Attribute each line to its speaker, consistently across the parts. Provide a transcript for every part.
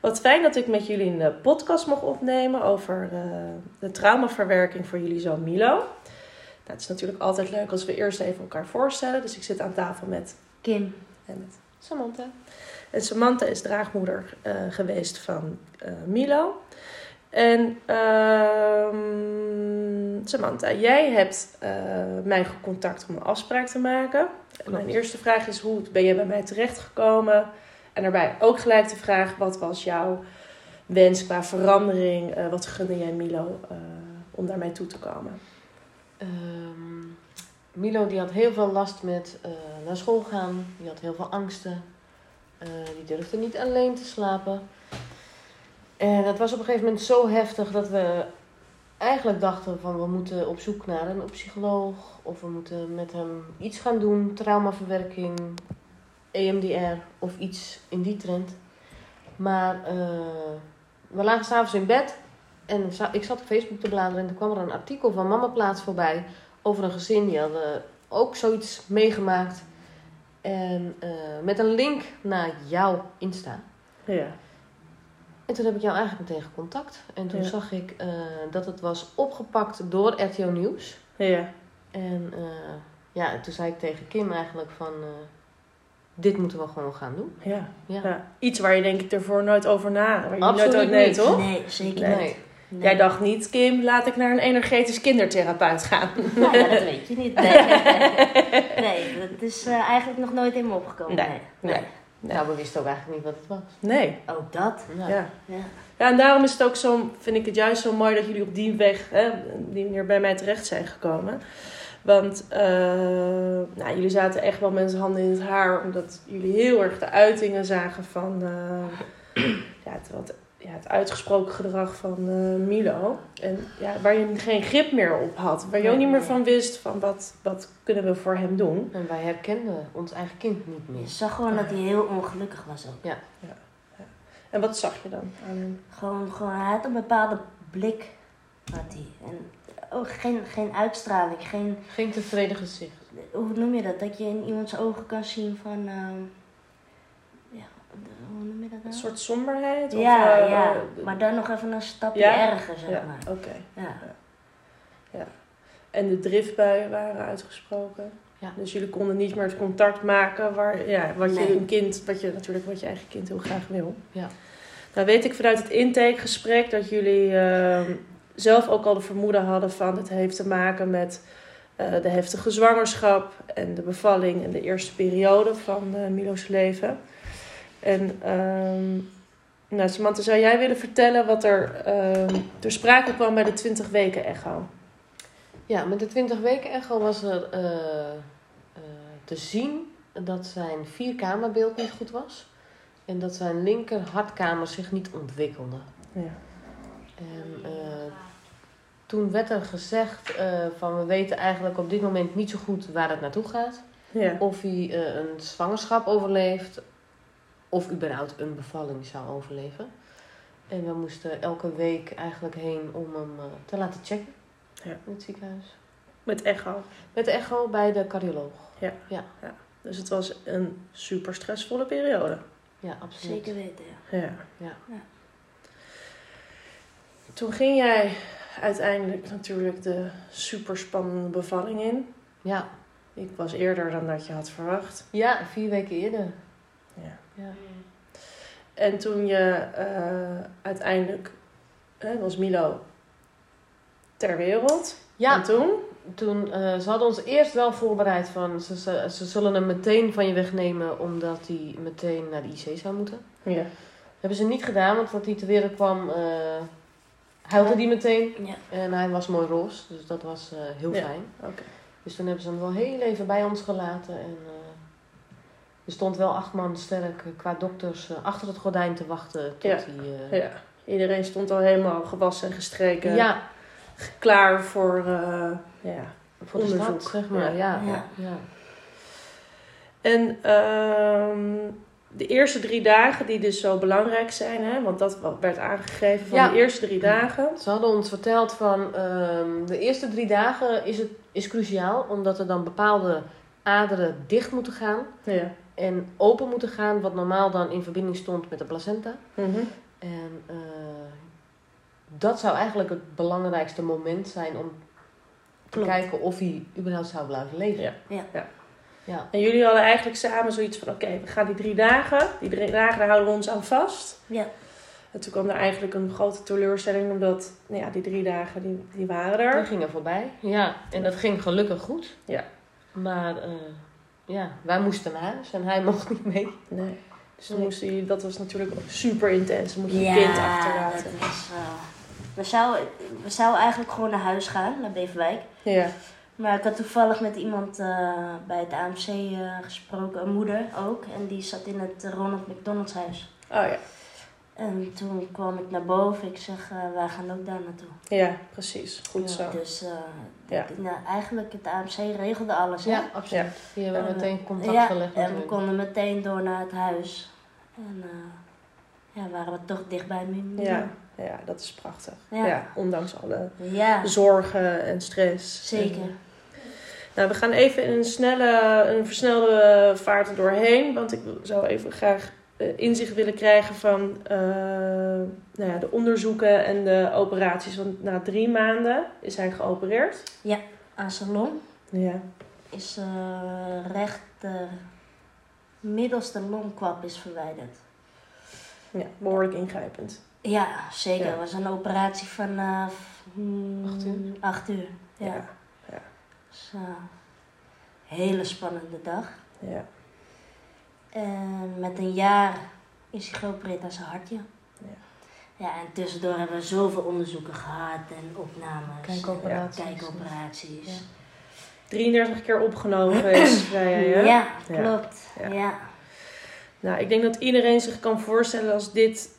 Speaker 1: Wat fijn dat ik met jullie een eh, podcast mag opnemen over eh, de traumaverwerking voor jullie zoon Milo. Nou, het is natuurlijk altijd leuk als we eerst even elkaar voorstellen. Dus ik zit aan tafel met
Speaker 2: Kim.
Speaker 1: en met Samantha. En Samantha is draagmoeder eh, geweest van eh, Milo. En ehm, Samantha, jij hebt eh, mij gecontact om een afspraak te maken. En mijn
Speaker 3: Klopt.
Speaker 1: eerste vraag is: hoe ben je bij mij terechtgekomen? En daarbij ook gelijk de vraag: wat was jouw wens qua verandering? Eh, wat gunde jij Milo eh, om daarmee toe te komen?
Speaker 3: Ehm, Milo die had heel veel last met eh, naar school gaan. Die had heel veel angsten. Eh, die durfde niet alleen te slapen. En dat was op een gegeven moment zo heftig dat we eigenlijk dachten van we moeten op zoek naar een psycholoog. Of we moeten met hem iets gaan doen. Traumaverwerking, E EMDR of iets in die trend. Maar eh, we lagen s'avonds in bed en za- ik zat op Facebook te bladeren en toen kwam er een artikel van Mama Plaats voorbij over een gezin die hadden ook zoiets meegemaakt. En eh, met een link naar jouw Insta.
Speaker 1: Ja.
Speaker 3: En toen heb ik jou eigenlijk meteen gecontact. En toen
Speaker 1: Ja.
Speaker 3: zag ik eh, dat het was opgepakt door RTO Nieuws.
Speaker 1: Ja.
Speaker 3: En eh, ja, en toen zei ik tegen Kim eigenlijk van... eh, dit moeten we gewoon gaan doen.
Speaker 1: Ja.
Speaker 3: Ja.
Speaker 1: ja. Iets waar je denk ik ervoor nooit over na. Waar je
Speaker 3: Absoluut
Speaker 1: nooit, nee,
Speaker 3: niet.
Speaker 1: toch?
Speaker 2: Nee, zeker
Speaker 1: Nee.
Speaker 2: niet.
Speaker 3: Nee.
Speaker 2: Nee.
Speaker 1: Jij dacht niet, Kim, laat ik naar een energetisch kindertherapeut gaan.
Speaker 2: Nou, ja, dat weet je niet. Nee, nee dat is eh, eigenlijk nog nooit in me opgekomen.
Speaker 1: Nee.
Speaker 2: Nee.
Speaker 1: Nee. Nee.
Speaker 3: Nou, we wisten ook eigenlijk niet wat het was.
Speaker 1: Nee.
Speaker 2: Ook dat.
Speaker 3: Nou,
Speaker 1: Ja.
Speaker 2: Ja.
Speaker 1: ja, en daarom is het ook zo, vind ik het juist zo mooi dat jullie op die weg, hè, op die manier bij mij terecht zijn gekomen. Want eh, nou, jullie zaten echt wel met handen in het haar, omdat jullie heel erg de uitingen zagen van eh, ja, het, wat, ja, het uitgesproken gedrag van eh, Milo. En ja, waar je geen grip meer op had, waar je ook
Speaker 3: Nee,
Speaker 1: niet meer
Speaker 3: nee.
Speaker 1: van wist van wat, wat kunnen we voor hem doen.
Speaker 3: En wij herkenden ons eigen kind niet
Speaker 2: Je
Speaker 3: meer.
Speaker 2: zag gewoon dat hij heel ongelukkig was ook.
Speaker 1: En wat zag je dan aan hem?
Speaker 2: Gewoon, gewoon hij had een bepaalde blik. Had hij. En ook geen, geen uitstraling. Geen,
Speaker 3: Geen tevreden gezicht.
Speaker 2: hoe noem je dat? Dat je in iemands ogen kan zien van... ehm, ja, hoe noem je dat
Speaker 1: Een
Speaker 2: nou?
Speaker 1: soort somberheid? Of,
Speaker 2: Ja,
Speaker 1: eh,
Speaker 2: ja.
Speaker 1: eh,
Speaker 2: Maar dan nog even een stapje
Speaker 1: Ja?
Speaker 2: erger, zeg
Speaker 1: ja, Oh.
Speaker 2: maar.
Speaker 1: oké.
Speaker 2: Ja.
Speaker 1: En de driftbuien waren uitgesproken.
Speaker 3: Ja.
Speaker 1: Dus jullie konden niet meer het contact maken waar, ja, wat je
Speaker 2: Nee.
Speaker 1: een kind, wat je natuurlijk wat je eigen kind heel graag wil.
Speaker 3: Ja.
Speaker 1: Nou weet ik vanuit het intakegesprek dat jullie ehm, zelf ook al de vermoeden hadden van het heeft te maken met eh, de heftige zwangerschap en de bevalling en de eerste periode van eh, Milo's leven. En ehm, nou, Samantha, zou jij willen vertellen wat er ehm, ter sprake kwam bij de 20 weken echo?
Speaker 3: Ja, met de 20 weken echo was er eh, eh, te zien dat zijn vierkamerbeeld niet goed was. En dat zijn linker hartkamer zich niet ontwikkelde.
Speaker 1: Ja.
Speaker 3: En eh, toen werd er gezegd eh, van we weten eigenlijk op dit moment niet zo goed waar het naartoe gaat.
Speaker 1: Ja.
Speaker 3: Of hij eh, een zwangerschap overleeft of überhaupt een bevalling zou overleven. En we moesten elke week eigenlijk heen om hem eh, te laten checken
Speaker 1: Ja.
Speaker 3: in het ziekenhuis.
Speaker 1: Met echo.
Speaker 3: Met echo bij de cardioloog.
Speaker 1: Dus het was een super stressvolle periode.
Speaker 3: Ja, absoluut.
Speaker 2: Zeker weten, ja.
Speaker 1: Ja.
Speaker 3: Ja.
Speaker 2: Ja.
Speaker 1: Toen ging jij uiteindelijk natuurlijk de super spannende bevalling in.
Speaker 3: Ja.
Speaker 1: Ik was eerder dan dat je had verwacht.
Speaker 3: ja, vier weken eerder.
Speaker 1: Ja.
Speaker 3: Ja.
Speaker 1: En toen je eh, uiteindelijk hè, was Milo ter wereld. En
Speaker 3: Ja,
Speaker 1: toen?
Speaker 3: toen, eh, ze hadden ons eerst wel voorbereid van ze, ze, ze zullen hem meteen van je wegnemen omdat hij meteen naar de IC zou moeten.
Speaker 1: Ja.
Speaker 3: Dat hebben ze niet gedaan, want toen hij te wereld kwam eh huilde hij meteen.
Speaker 2: Ja.
Speaker 3: En hij was mooi roze, dus dat was eh, heel
Speaker 1: Ja.
Speaker 3: fijn.
Speaker 1: Oké.
Speaker 3: Dus toen hebben ze hem wel heel even bij ons gelaten. En, eh, er stond wel acht man sterk eh, qua dokters eh, achter het gordijn te wachten tot
Speaker 1: Ja.
Speaker 3: hij... eh,
Speaker 1: Ja. Iedereen stond al helemaal gewassen en gestreken.
Speaker 3: ja,
Speaker 1: Klaar voor... eh, ja.
Speaker 3: Voor de
Speaker 1: Onderzoek.
Speaker 3: stad, zeg maar. Ja.
Speaker 2: Ja.
Speaker 3: Ja.
Speaker 1: En ehm, de eerste drie dagen, die dus zo belangrijk zijn, hè, want dat wa- werd aangegeven van
Speaker 3: Ja.
Speaker 1: de eerste drie dagen.
Speaker 3: Ze hadden ons verteld van ehm, de eerste drie dagen is, het, is cruciaal, omdat er dan bepaalde aderen dicht moeten gaan.
Speaker 1: Ja,
Speaker 3: en open moeten gaan, wat normaal dan in verbinding stond met de placenta.
Speaker 1: Mhm.
Speaker 3: En eh, dat zou eigenlijk het belangrijkste moment zijn om te
Speaker 2: Klopt.
Speaker 3: kijken of hij überhaupt zou blijven leven.
Speaker 1: Ja.
Speaker 2: Ja.
Speaker 1: Ja.
Speaker 3: Ja.
Speaker 1: En jullie hadden eigenlijk samen zoiets van: oké, we gaan die drie dagen, die drie dagen, daar houden we ons aan vast.
Speaker 2: Ja.
Speaker 1: En toen kwam er eigenlijk een grote teleurstelling, omdat nou ja, die drie dagen die, die waren
Speaker 3: Die
Speaker 1: er.
Speaker 3: gingen voorbij. Ja, en dat ging gelukkig goed.
Speaker 1: Ja.
Speaker 3: Maar eh, ja, wij moesten naar huis en hij mocht niet mee.
Speaker 1: Nee. Dus dan
Speaker 3: Nee.
Speaker 1: moest hij, dat was natuurlijk ook super intens. Dan moest je
Speaker 2: ja,
Speaker 1: kind achterlaten.
Speaker 2: dat was... eh, we, zouden, we zouden eigenlijk gewoon naar huis gaan, naar Beverwijk.
Speaker 1: Ja.
Speaker 2: Maar ik had toevallig met iemand eh, bij het AMC eh, gesproken, een moeder ook. En die zat in het Ronald McDonald's huis.
Speaker 1: Oh ja.
Speaker 2: En toen kwam ik naar boven. Ik zeg, eh, wij gaan ook daar naartoe.
Speaker 1: Ja, precies. Goed
Speaker 3: Ja.
Speaker 1: zo.
Speaker 2: Dus eh,
Speaker 1: Ja.
Speaker 2: dat- nou, eigenlijk het AMC regelde alles. hè?
Speaker 3: Ja, absoluut. Die hebben
Speaker 2: Eh,
Speaker 3: meteen contact
Speaker 2: ja,
Speaker 3: gelegd. met
Speaker 2: en we
Speaker 3: hun.
Speaker 2: konden meteen door naar het huis. En eh, ja, waren we toch dicht bij mijn moeder.
Speaker 1: Ja. Ja, dat is prachtig. Ja.
Speaker 2: Ja.
Speaker 1: ondanks alle
Speaker 2: Ja,
Speaker 1: Dus- zorgen en stress.
Speaker 2: zeker.
Speaker 1: Nou, we gaan even in een snelle, een versnelde vaart er doorheen. Want ik zou even graag eh, inzicht willen krijgen van eh, nou ja, de onderzoeken en de operaties. Want na drie maanden is hij geopereerd.
Speaker 2: Aan zijn long
Speaker 1: Ja.
Speaker 2: is eh rechter middelste longkwap is verwijderd.
Speaker 1: ja, behoorlijk ingrijpend.
Speaker 2: Ja, zeker.
Speaker 1: Ja.
Speaker 2: Het was een operatie van eh, f- mm,
Speaker 3: Acht uur.
Speaker 2: acht uur, ja.
Speaker 1: Ja.
Speaker 2: Dus, eh, hele spannende dag.
Speaker 1: Ja.
Speaker 2: En met een jaar is hij geopereerd aan zijn hartje.
Speaker 1: Ja.
Speaker 2: Ja, en tussendoor hebben we zoveel onderzoeken gehad en opnames.
Speaker 3: Kijkoperaties.
Speaker 2: en kijkoperaties.
Speaker 3: Ja.
Speaker 1: 33 keer opgenomen geweest, zei jij, hè?
Speaker 2: Ja,
Speaker 1: Ja.
Speaker 2: klopt.
Speaker 1: Ja.
Speaker 2: Ja.
Speaker 1: Nou, ik denk dat iedereen zich kan voorstellen als dit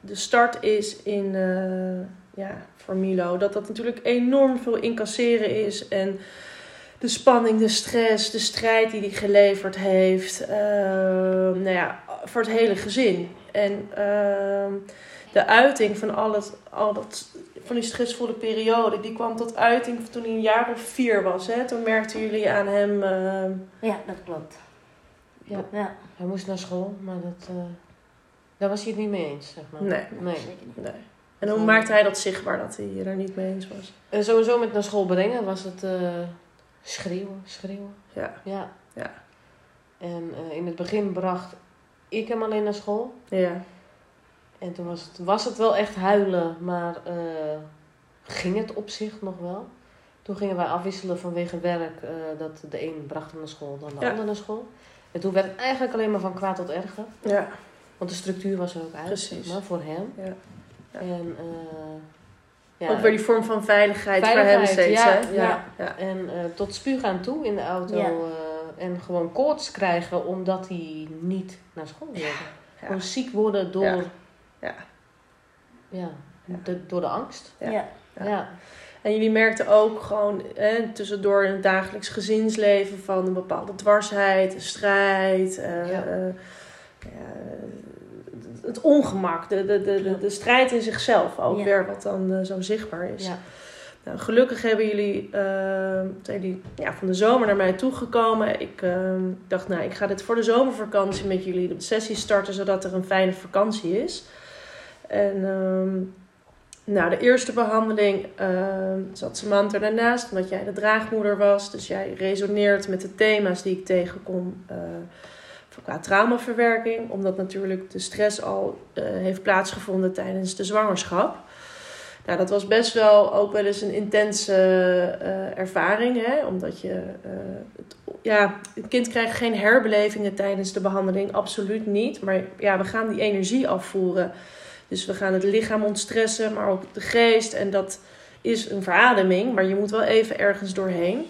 Speaker 1: de start is in, eh, ja, voor Milo. Dat dat natuurlijk enorm veel incasseren is. En de spanning, de stress, de strijd die hij geleverd heeft. eh, nou ja, voor het hele gezin. En ehm, de uiting van al, het, al dat, van die stressvolle periode, die kwam tot uiting toen hij een jaar of vier was. Hè? Toen merkten jullie aan hem... ehm,
Speaker 2: Ja, dat klopt.
Speaker 3: Ja.
Speaker 2: ja.
Speaker 3: Hij moest naar school, maar dat, eh, daar was hij het niet mee eens, zeg maar.
Speaker 1: Nee.
Speaker 3: nee.
Speaker 2: Zeker niet.
Speaker 1: Nee. En hoe maakte hij dat zichtbaar dat hij er niet mee eens was?
Speaker 3: En Eh, sowieso met naar school brengen was het eh, schreeuwen, schreeuwen.
Speaker 1: Ja.
Speaker 3: Ja.
Speaker 1: Ja.
Speaker 3: En eh, in het begin bracht ik hem alleen naar school.
Speaker 1: Ja,
Speaker 3: En toen was het, was het wel echt huilen, maar eh, ging het op zich nog wel. Toen gingen wij afwisselen vanwege werk, eh, dat de een bracht hem naar school, dan de
Speaker 1: Ja.
Speaker 3: ander naar school. En toen werd het eigenlijk alleen maar van kwaad tot erger.
Speaker 1: ja,
Speaker 3: Want de structuur was er ook uit,
Speaker 1: Precies.
Speaker 3: zeg maar, voor hem.
Speaker 1: Ja. Ja.
Speaker 3: En, eh,
Speaker 1: ook weer die vorm van veiligheid, voor hem
Speaker 3: Veiligheid,
Speaker 1: steeds.
Speaker 3: ja,
Speaker 1: hè?
Speaker 3: ja.
Speaker 1: ja.
Speaker 3: en eh, tot spuug aan toe in de auto.
Speaker 2: Ja.
Speaker 3: eh, en gewoon koorts krijgen omdat hij niet naar school wilde.
Speaker 1: ja.
Speaker 3: Gewoon ziek worden door...
Speaker 1: Ja. Ja.
Speaker 3: Ja,
Speaker 1: Ja.
Speaker 3: de- door de angst.
Speaker 1: Ja.
Speaker 2: Ja.
Speaker 1: Ja.
Speaker 3: Ja.
Speaker 1: En jullie merkten ook gewoon hè, tussendoor in het dagelijks gezinsleven van een bepaalde dwarsheid, strijd, eh,
Speaker 3: Ja.
Speaker 1: eh, ja, het ongemak, de, de, de, de, de strijd in zichzelf ook
Speaker 2: Ja.
Speaker 1: weer, wat dan eh, zo zichtbaar is.
Speaker 3: Ja.
Speaker 1: Nou, gelukkig hebben jullie, eh, zijn jullie ja, van de zomer naar mij toegekomen. Ik eh, dacht, nou, ik ga dit voor de zomervakantie met jullie de sessie starten, zodat er een fijne vakantie is. En ehm, nou, de eerste behandeling ehm, zat Samantha daarnaast, omdat jij de draagmoeder was. Dus jij resoneert met de thema's die ik tegenkom eh, voor qua traumaverwerking. Omdat natuurlijk de stress al eh, heeft plaatsgevonden tijdens de zwangerschap. Nou, dat was best wel ook wel eens een intense eh, ervaring. Hè? Omdat je... eh, het, ja, het kind krijgt geen herbelevingen tijdens de behandeling. Absoluut niet. Maar ja, we gaan die energie afvoeren. Dus we gaan het lichaam ontstressen, maar ook de geest. En dat is een verademing, maar je moet wel even ergens doorheen.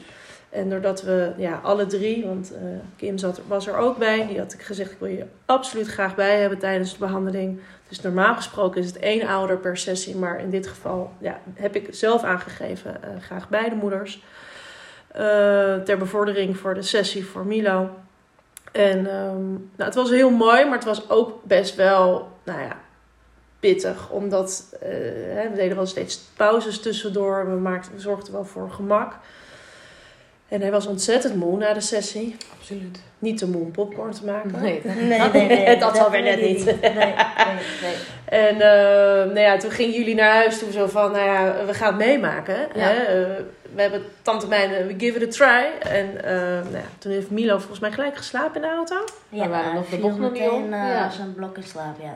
Speaker 1: En doordat we ja, alle drie, want eh, Kim zat, was er ook bij, die had ik gezegd: ik wil je absoluut graag bij hebben tijdens de behandeling. Dus normaal gesproken is het één ouder per sessie, maar in dit geval ja, heb ik zelf aangegeven: eh, graag beide moeders. Eh, ter bevordering voor de sessie voor Milo. En ehm, nou, het was heel mooi, maar het was ook best wel, nou ja, pittig. Omdat eh, hè, we deden wel steeds pauzes tussendoor. We, maakten, we zorgden wel voor gemak. En hij was ontzettend moe na de sessie.
Speaker 3: Absoluut.
Speaker 1: Niet te moe om popcorn te maken.
Speaker 3: Nee, dat-
Speaker 2: Nee, nee, nee.
Speaker 1: Dat alweer net
Speaker 2: wil je
Speaker 1: niet.
Speaker 2: Nee, nee, nee.
Speaker 1: En eh, nou ja, toen gingen jullie naar huis toen zo van, nou ja, we gaan het meemaken. Hè? Eh, we hebben tante mijn, eh, we give it a try. En eh, nou ja, toen heeft Milo volgens mij gelijk geslapen in de auto.
Speaker 2: Ja,
Speaker 3: We waren nog de
Speaker 2: viel
Speaker 3: bocht nog niet op.
Speaker 2: meteen, eh,
Speaker 3: Ja.
Speaker 2: als een blok in slaap, ja.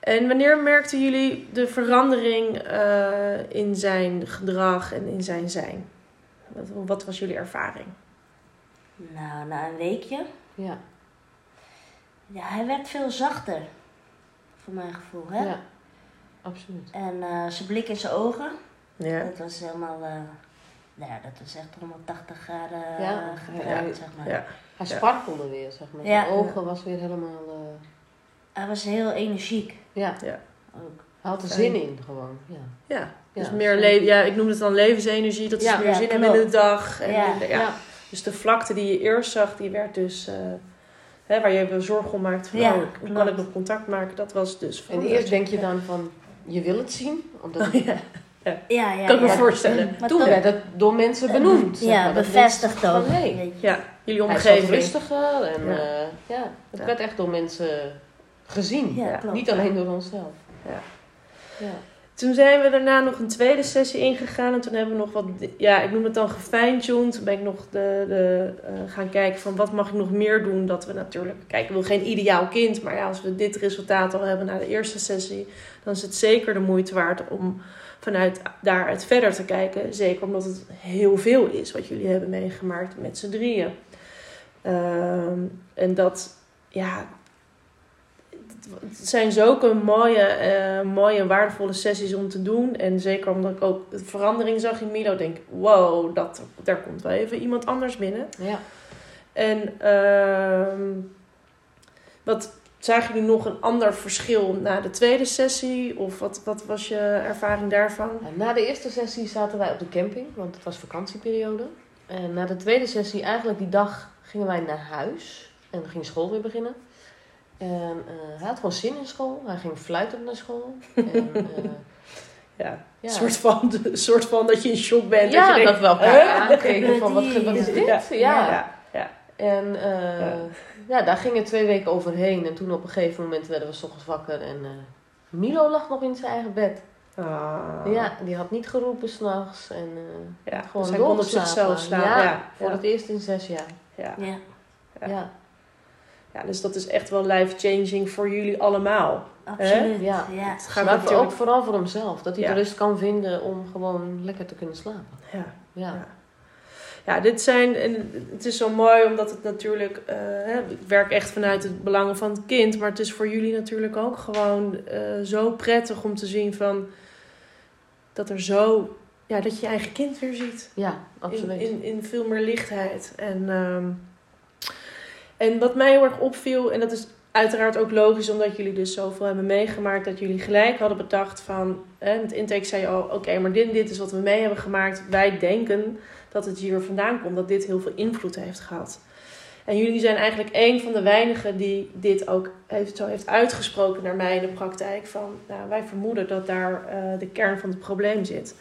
Speaker 1: En wanneer merkten jullie de verandering eh, in zijn gedrag en in zijn zijn? Wat, wat was jullie ervaring?
Speaker 2: Nou, na een weekje.
Speaker 3: Ja.
Speaker 2: Ja, hij werd veel zachter. Voor mijn gevoel, hè?
Speaker 3: ja. Absoluut.
Speaker 2: En eh, zijn blik in zijn ogen.
Speaker 1: Ja.
Speaker 2: Dat was helemaal... eh, nou ja, dat was echt 180 graden eh,
Speaker 3: Ja.
Speaker 2: gedraaid,
Speaker 3: Ja.
Speaker 2: zeg maar.
Speaker 1: Ja.
Speaker 3: Hij
Speaker 1: Ja.
Speaker 3: sparkelde weer, zeg maar.
Speaker 2: Ja.
Speaker 3: Zijn ogen was weer helemaal... eh,
Speaker 2: Hij was heel energiek
Speaker 3: ja,
Speaker 2: ook.
Speaker 3: hij had er
Speaker 1: Fijn.
Speaker 3: zin in gewoon. Ja.
Speaker 1: ja.
Speaker 3: Ja,
Speaker 1: Dus meer
Speaker 3: zo.
Speaker 1: leven, ja, ik noem het dan levensenergie, dat is
Speaker 3: Ja,
Speaker 1: meer
Speaker 2: ja,
Speaker 1: zin hebben in
Speaker 2: klopt.
Speaker 1: de dag. En
Speaker 2: Ja.
Speaker 1: in de- ja.
Speaker 3: Ja.
Speaker 1: Dus de vlakte die je eerst zag, die werd dus, eh, hè, waar je je zorgen om maakt, van,
Speaker 2: Ja,
Speaker 1: oh, hoe kan
Speaker 2: klopt.
Speaker 1: ik nog contact maken, dat was dus.
Speaker 3: En
Speaker 1: veranderd.
Speaker 3: eerst denk je dan van, je wil het zien. Omdat
Speaker 1: Oh, ja.
Speaker 2: Ja, ja,
Speaker 1: Kan ik
Speaker 2: ja.
Speaker 1: me voorstellen.
Speaker 2: Maar
Speaker 3: Toen
Speaker 2: toch-
Speaker 3: werd het door mensen benoemd. zeg
Speaker 2: Ja,
Speaker 3: maar. Dat
Speaker 2: bevestigd
Speaker 3: mensen
Speaker 2: ook.
Speaker 3: van, hey,
Speaker 2: weet je.
Speaker 1: Ja, jullie
Speaker 3: Hij zat
Speaker 1: omgeving.
Speaker 3: rustiger en
Speaker 1: Ja.
Speaker 3: eh, ja, het
Speaker 1: Ja.
Speaker 3: werd echt door mensen gezien.
Speaker 2: Ja,
Speaker 1: Ja.
Speaker 2: klopt.
Speaker 3: Niet alleen door onszelf.
Speaker 1: Ja.
Speaker 3: Ja.
Speaker 1: Toen zijn we daarna nog een tweede sessie ingegaan. En toen hebben we nog wat, ja, ik noem het dan gefine-tuned. Toen ben ik nog de, de, eh, gaan kijken van wat mag ik nog meer doen. Dat we natuurlijk, kijk, ik wil geen ideaal kind. Maar ja, als we dit resultaat al hebben na de eerste sessie. Dan is het zeker de moeite waard om vanuit daaruit verder te kijken. Zeker omdat het heel veel is wat jullie hebben meegemaakt met z'n drieën. Ehm, en dat, ja, het zijn zulke mooie, eh, mooie en waardevolle sessies om te doen. En zeker omdat ik ook de verandering zag in Milo, denk ik, wow, dat, daar komt wel even iemand anders binnen.
Speaker 3: Ja.
Speaker 1: En ehm, wat zagen jullie nog een ander verschil na de tweede sessie? Of wat, wat was je ervaring daarvan?
Speaker 3: En Eh, Na de eerste sessie zaten wij op de camping, want het was vakantieperiode. En na de tweede sessie, eigenlijk die dag, gingen wij naar huis. En ging school weer beginnen. En eh, hij had gewoon zin in school. Hij ging fluitend naar school. En, eh,
Speaker 1: Ja,
Speaker 3: ja.
Speaker 1: Een, soort van, een soort van dat je in shock bent.
Speaker 3: ja,
Speaker 1: dat je denkt,
Speaker 3: dat we elkaar
Speaker 1: "Huh?"
Speaker 3: aankeken van wat, wat is dit? ja.
Speaker 1: ja.
Speaker 3: En eh,
Speaker 1: Ja.
Speaker 3: ja. daar gingen twee weken overheen. En toen op een gegeven moment werden we 's ochtends wakker. En eh, Milo lag nog in zijn eigen bed.
Speaker 1: Ah.
Speaker 3: Ja, die had niet geroepen s'nachts. En eh,
Speaker 1: Ja,
Speaker 3: gewoon
Speaker 1: dus hij kon op
Speaker 3: doorgeslapen.
Speaker 1: zichzelf slapen.
Speaker 3: Ja,
Speaker 1: Ja,
Speaker 3: voor
Speaker 1: ja.
Speaker 3: het eerst in zes jaar.
Speaker 1: Ja.
Speaker 2: Ja.
Speaker 1: Ja.
Speaker 3: Ja, ja.
Speaker 1: ja, dus dat is echt wel life-changing voor jullie allemaal.
Speaker 2: absoluut.
Speaker 3: Ja.
Speaker 2: Ja.
Speaker 1: Het
Speaker 3: maar
Speaker 1: gaat
Speaker 3: ook
Speaker 1: natuurlijk...
Speaker 3: vooral voor hemzelf. Dat hij
Speaker 1: Ja.
Speaker 3: de rust kan vinden om gewoon lekker te kunnen slapen.
Speaker 1: Ja.
Speaker 3: Ja,
Speaker 1: Ja. Ja, dit zijn, en het is zo mooi omdat het natuurlijk, eh, hè, ik werk echt vanuit het belangen van het kind, maar het is voor jullie natuurlijk ook gewoon eh, zo prettig om te zien van dat er zo, ja, dat je je eigen kind weer ziet.
Speaker 3: ja
Speaker 1: In,
Speaker 3: absoluut.
Speaker 1: in, in veel meer lichtheid. En, ehm, en wat mij heel erg opviel, en dat is uiteraard ook logisch omdat jullie dus zoveel hebben meegemaakt, dat jullie gelijk hadden bedacht van, hè, met intake zei je al, oké, maar dit, dit is wat we mee hebben gemaakt. Wij denken dat het hier vandaan komt, dat dit heel veel invloed heeft gehad. En jullie zijn eigenlijk een van de weinigen die dit ook heeft, zo heeft uitgesproken naar mij in de praktijk. Van, nou, wij vermoeden dat daar eh, de kern van het probleem zit.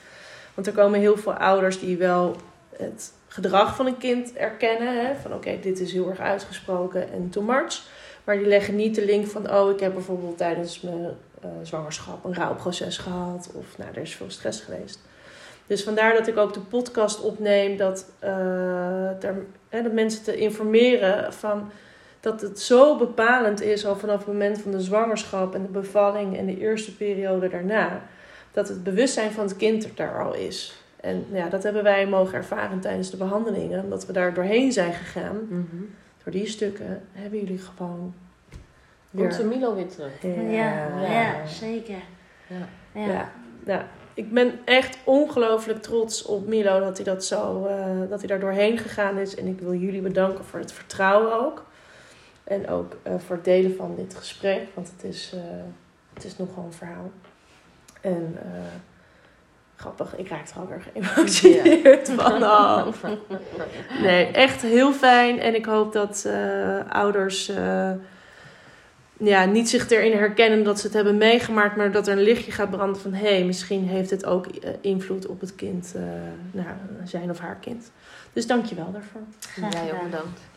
Speaker 1: Want er komen heel veel ouders die wel het gedrag van een kind erkennen. Hè? Van oké, dit is heel erg uitgesproken en too much. Maar die leggen niet de link van, oh, ik heb bijvoorbeeld tijdens mijn eh, zwangerschap een rouwproces gehad. Of nou, er is veel stress geweest. Dus vandaar dat ik ook de podcast opneem, dat, eh, daar, hè, dat mensen te informeren van dat het zo bepalend is al vanaf het moment van de zwangerschap en de bevalling en de eerste periode daarna. Dat het bewustzijn van het kind er daar al is. En nou ja, dat hebben wij mogen ervaren tijdens de behandelingen, omdat we daar doorheen zijn gegaan.
Speaker 3: Mhm.
Speaker 1: Door die stukken hebben jullie gewoon
Speaker 3: Komt zijn Milo weer terug.
Speaker 1: Ja.
Speaker 2: Ja, ja, zeker.
Speaker 3: Ja.
Speaker 2: Ja.
Speaker 1: Ja. ja. Ik ben echt ongelooflijk trots op Milo dat hij, dat, zo, eh, dat hij daar doorheen gegaan is. En ik wil jullie bedanken voor het vertrouwen ook. En ook eh, voor het delen van dit gesprek, want het is, eh, het is nogal een verhaal. En eh, grappig, ik raak er al weer geëmotioneerd van. Oh. Nee, echt heel fijn. En ik hoop dat eh, ouders eh, ja, niet zich erin herkennen dat ze het hebben meegemaakt, maar dat er een lichtje gaat branden van hé, hey, misschien heeft dit ook eh, invloed op het kind, eh, nou, zijn of haar kind.
Speaker 4: Dus dank je wel daarvoor.
Speaker 1: Graag
Speaker 3: Jij ook
Speaker 1: gedaan.
Speaker 3: bedankt.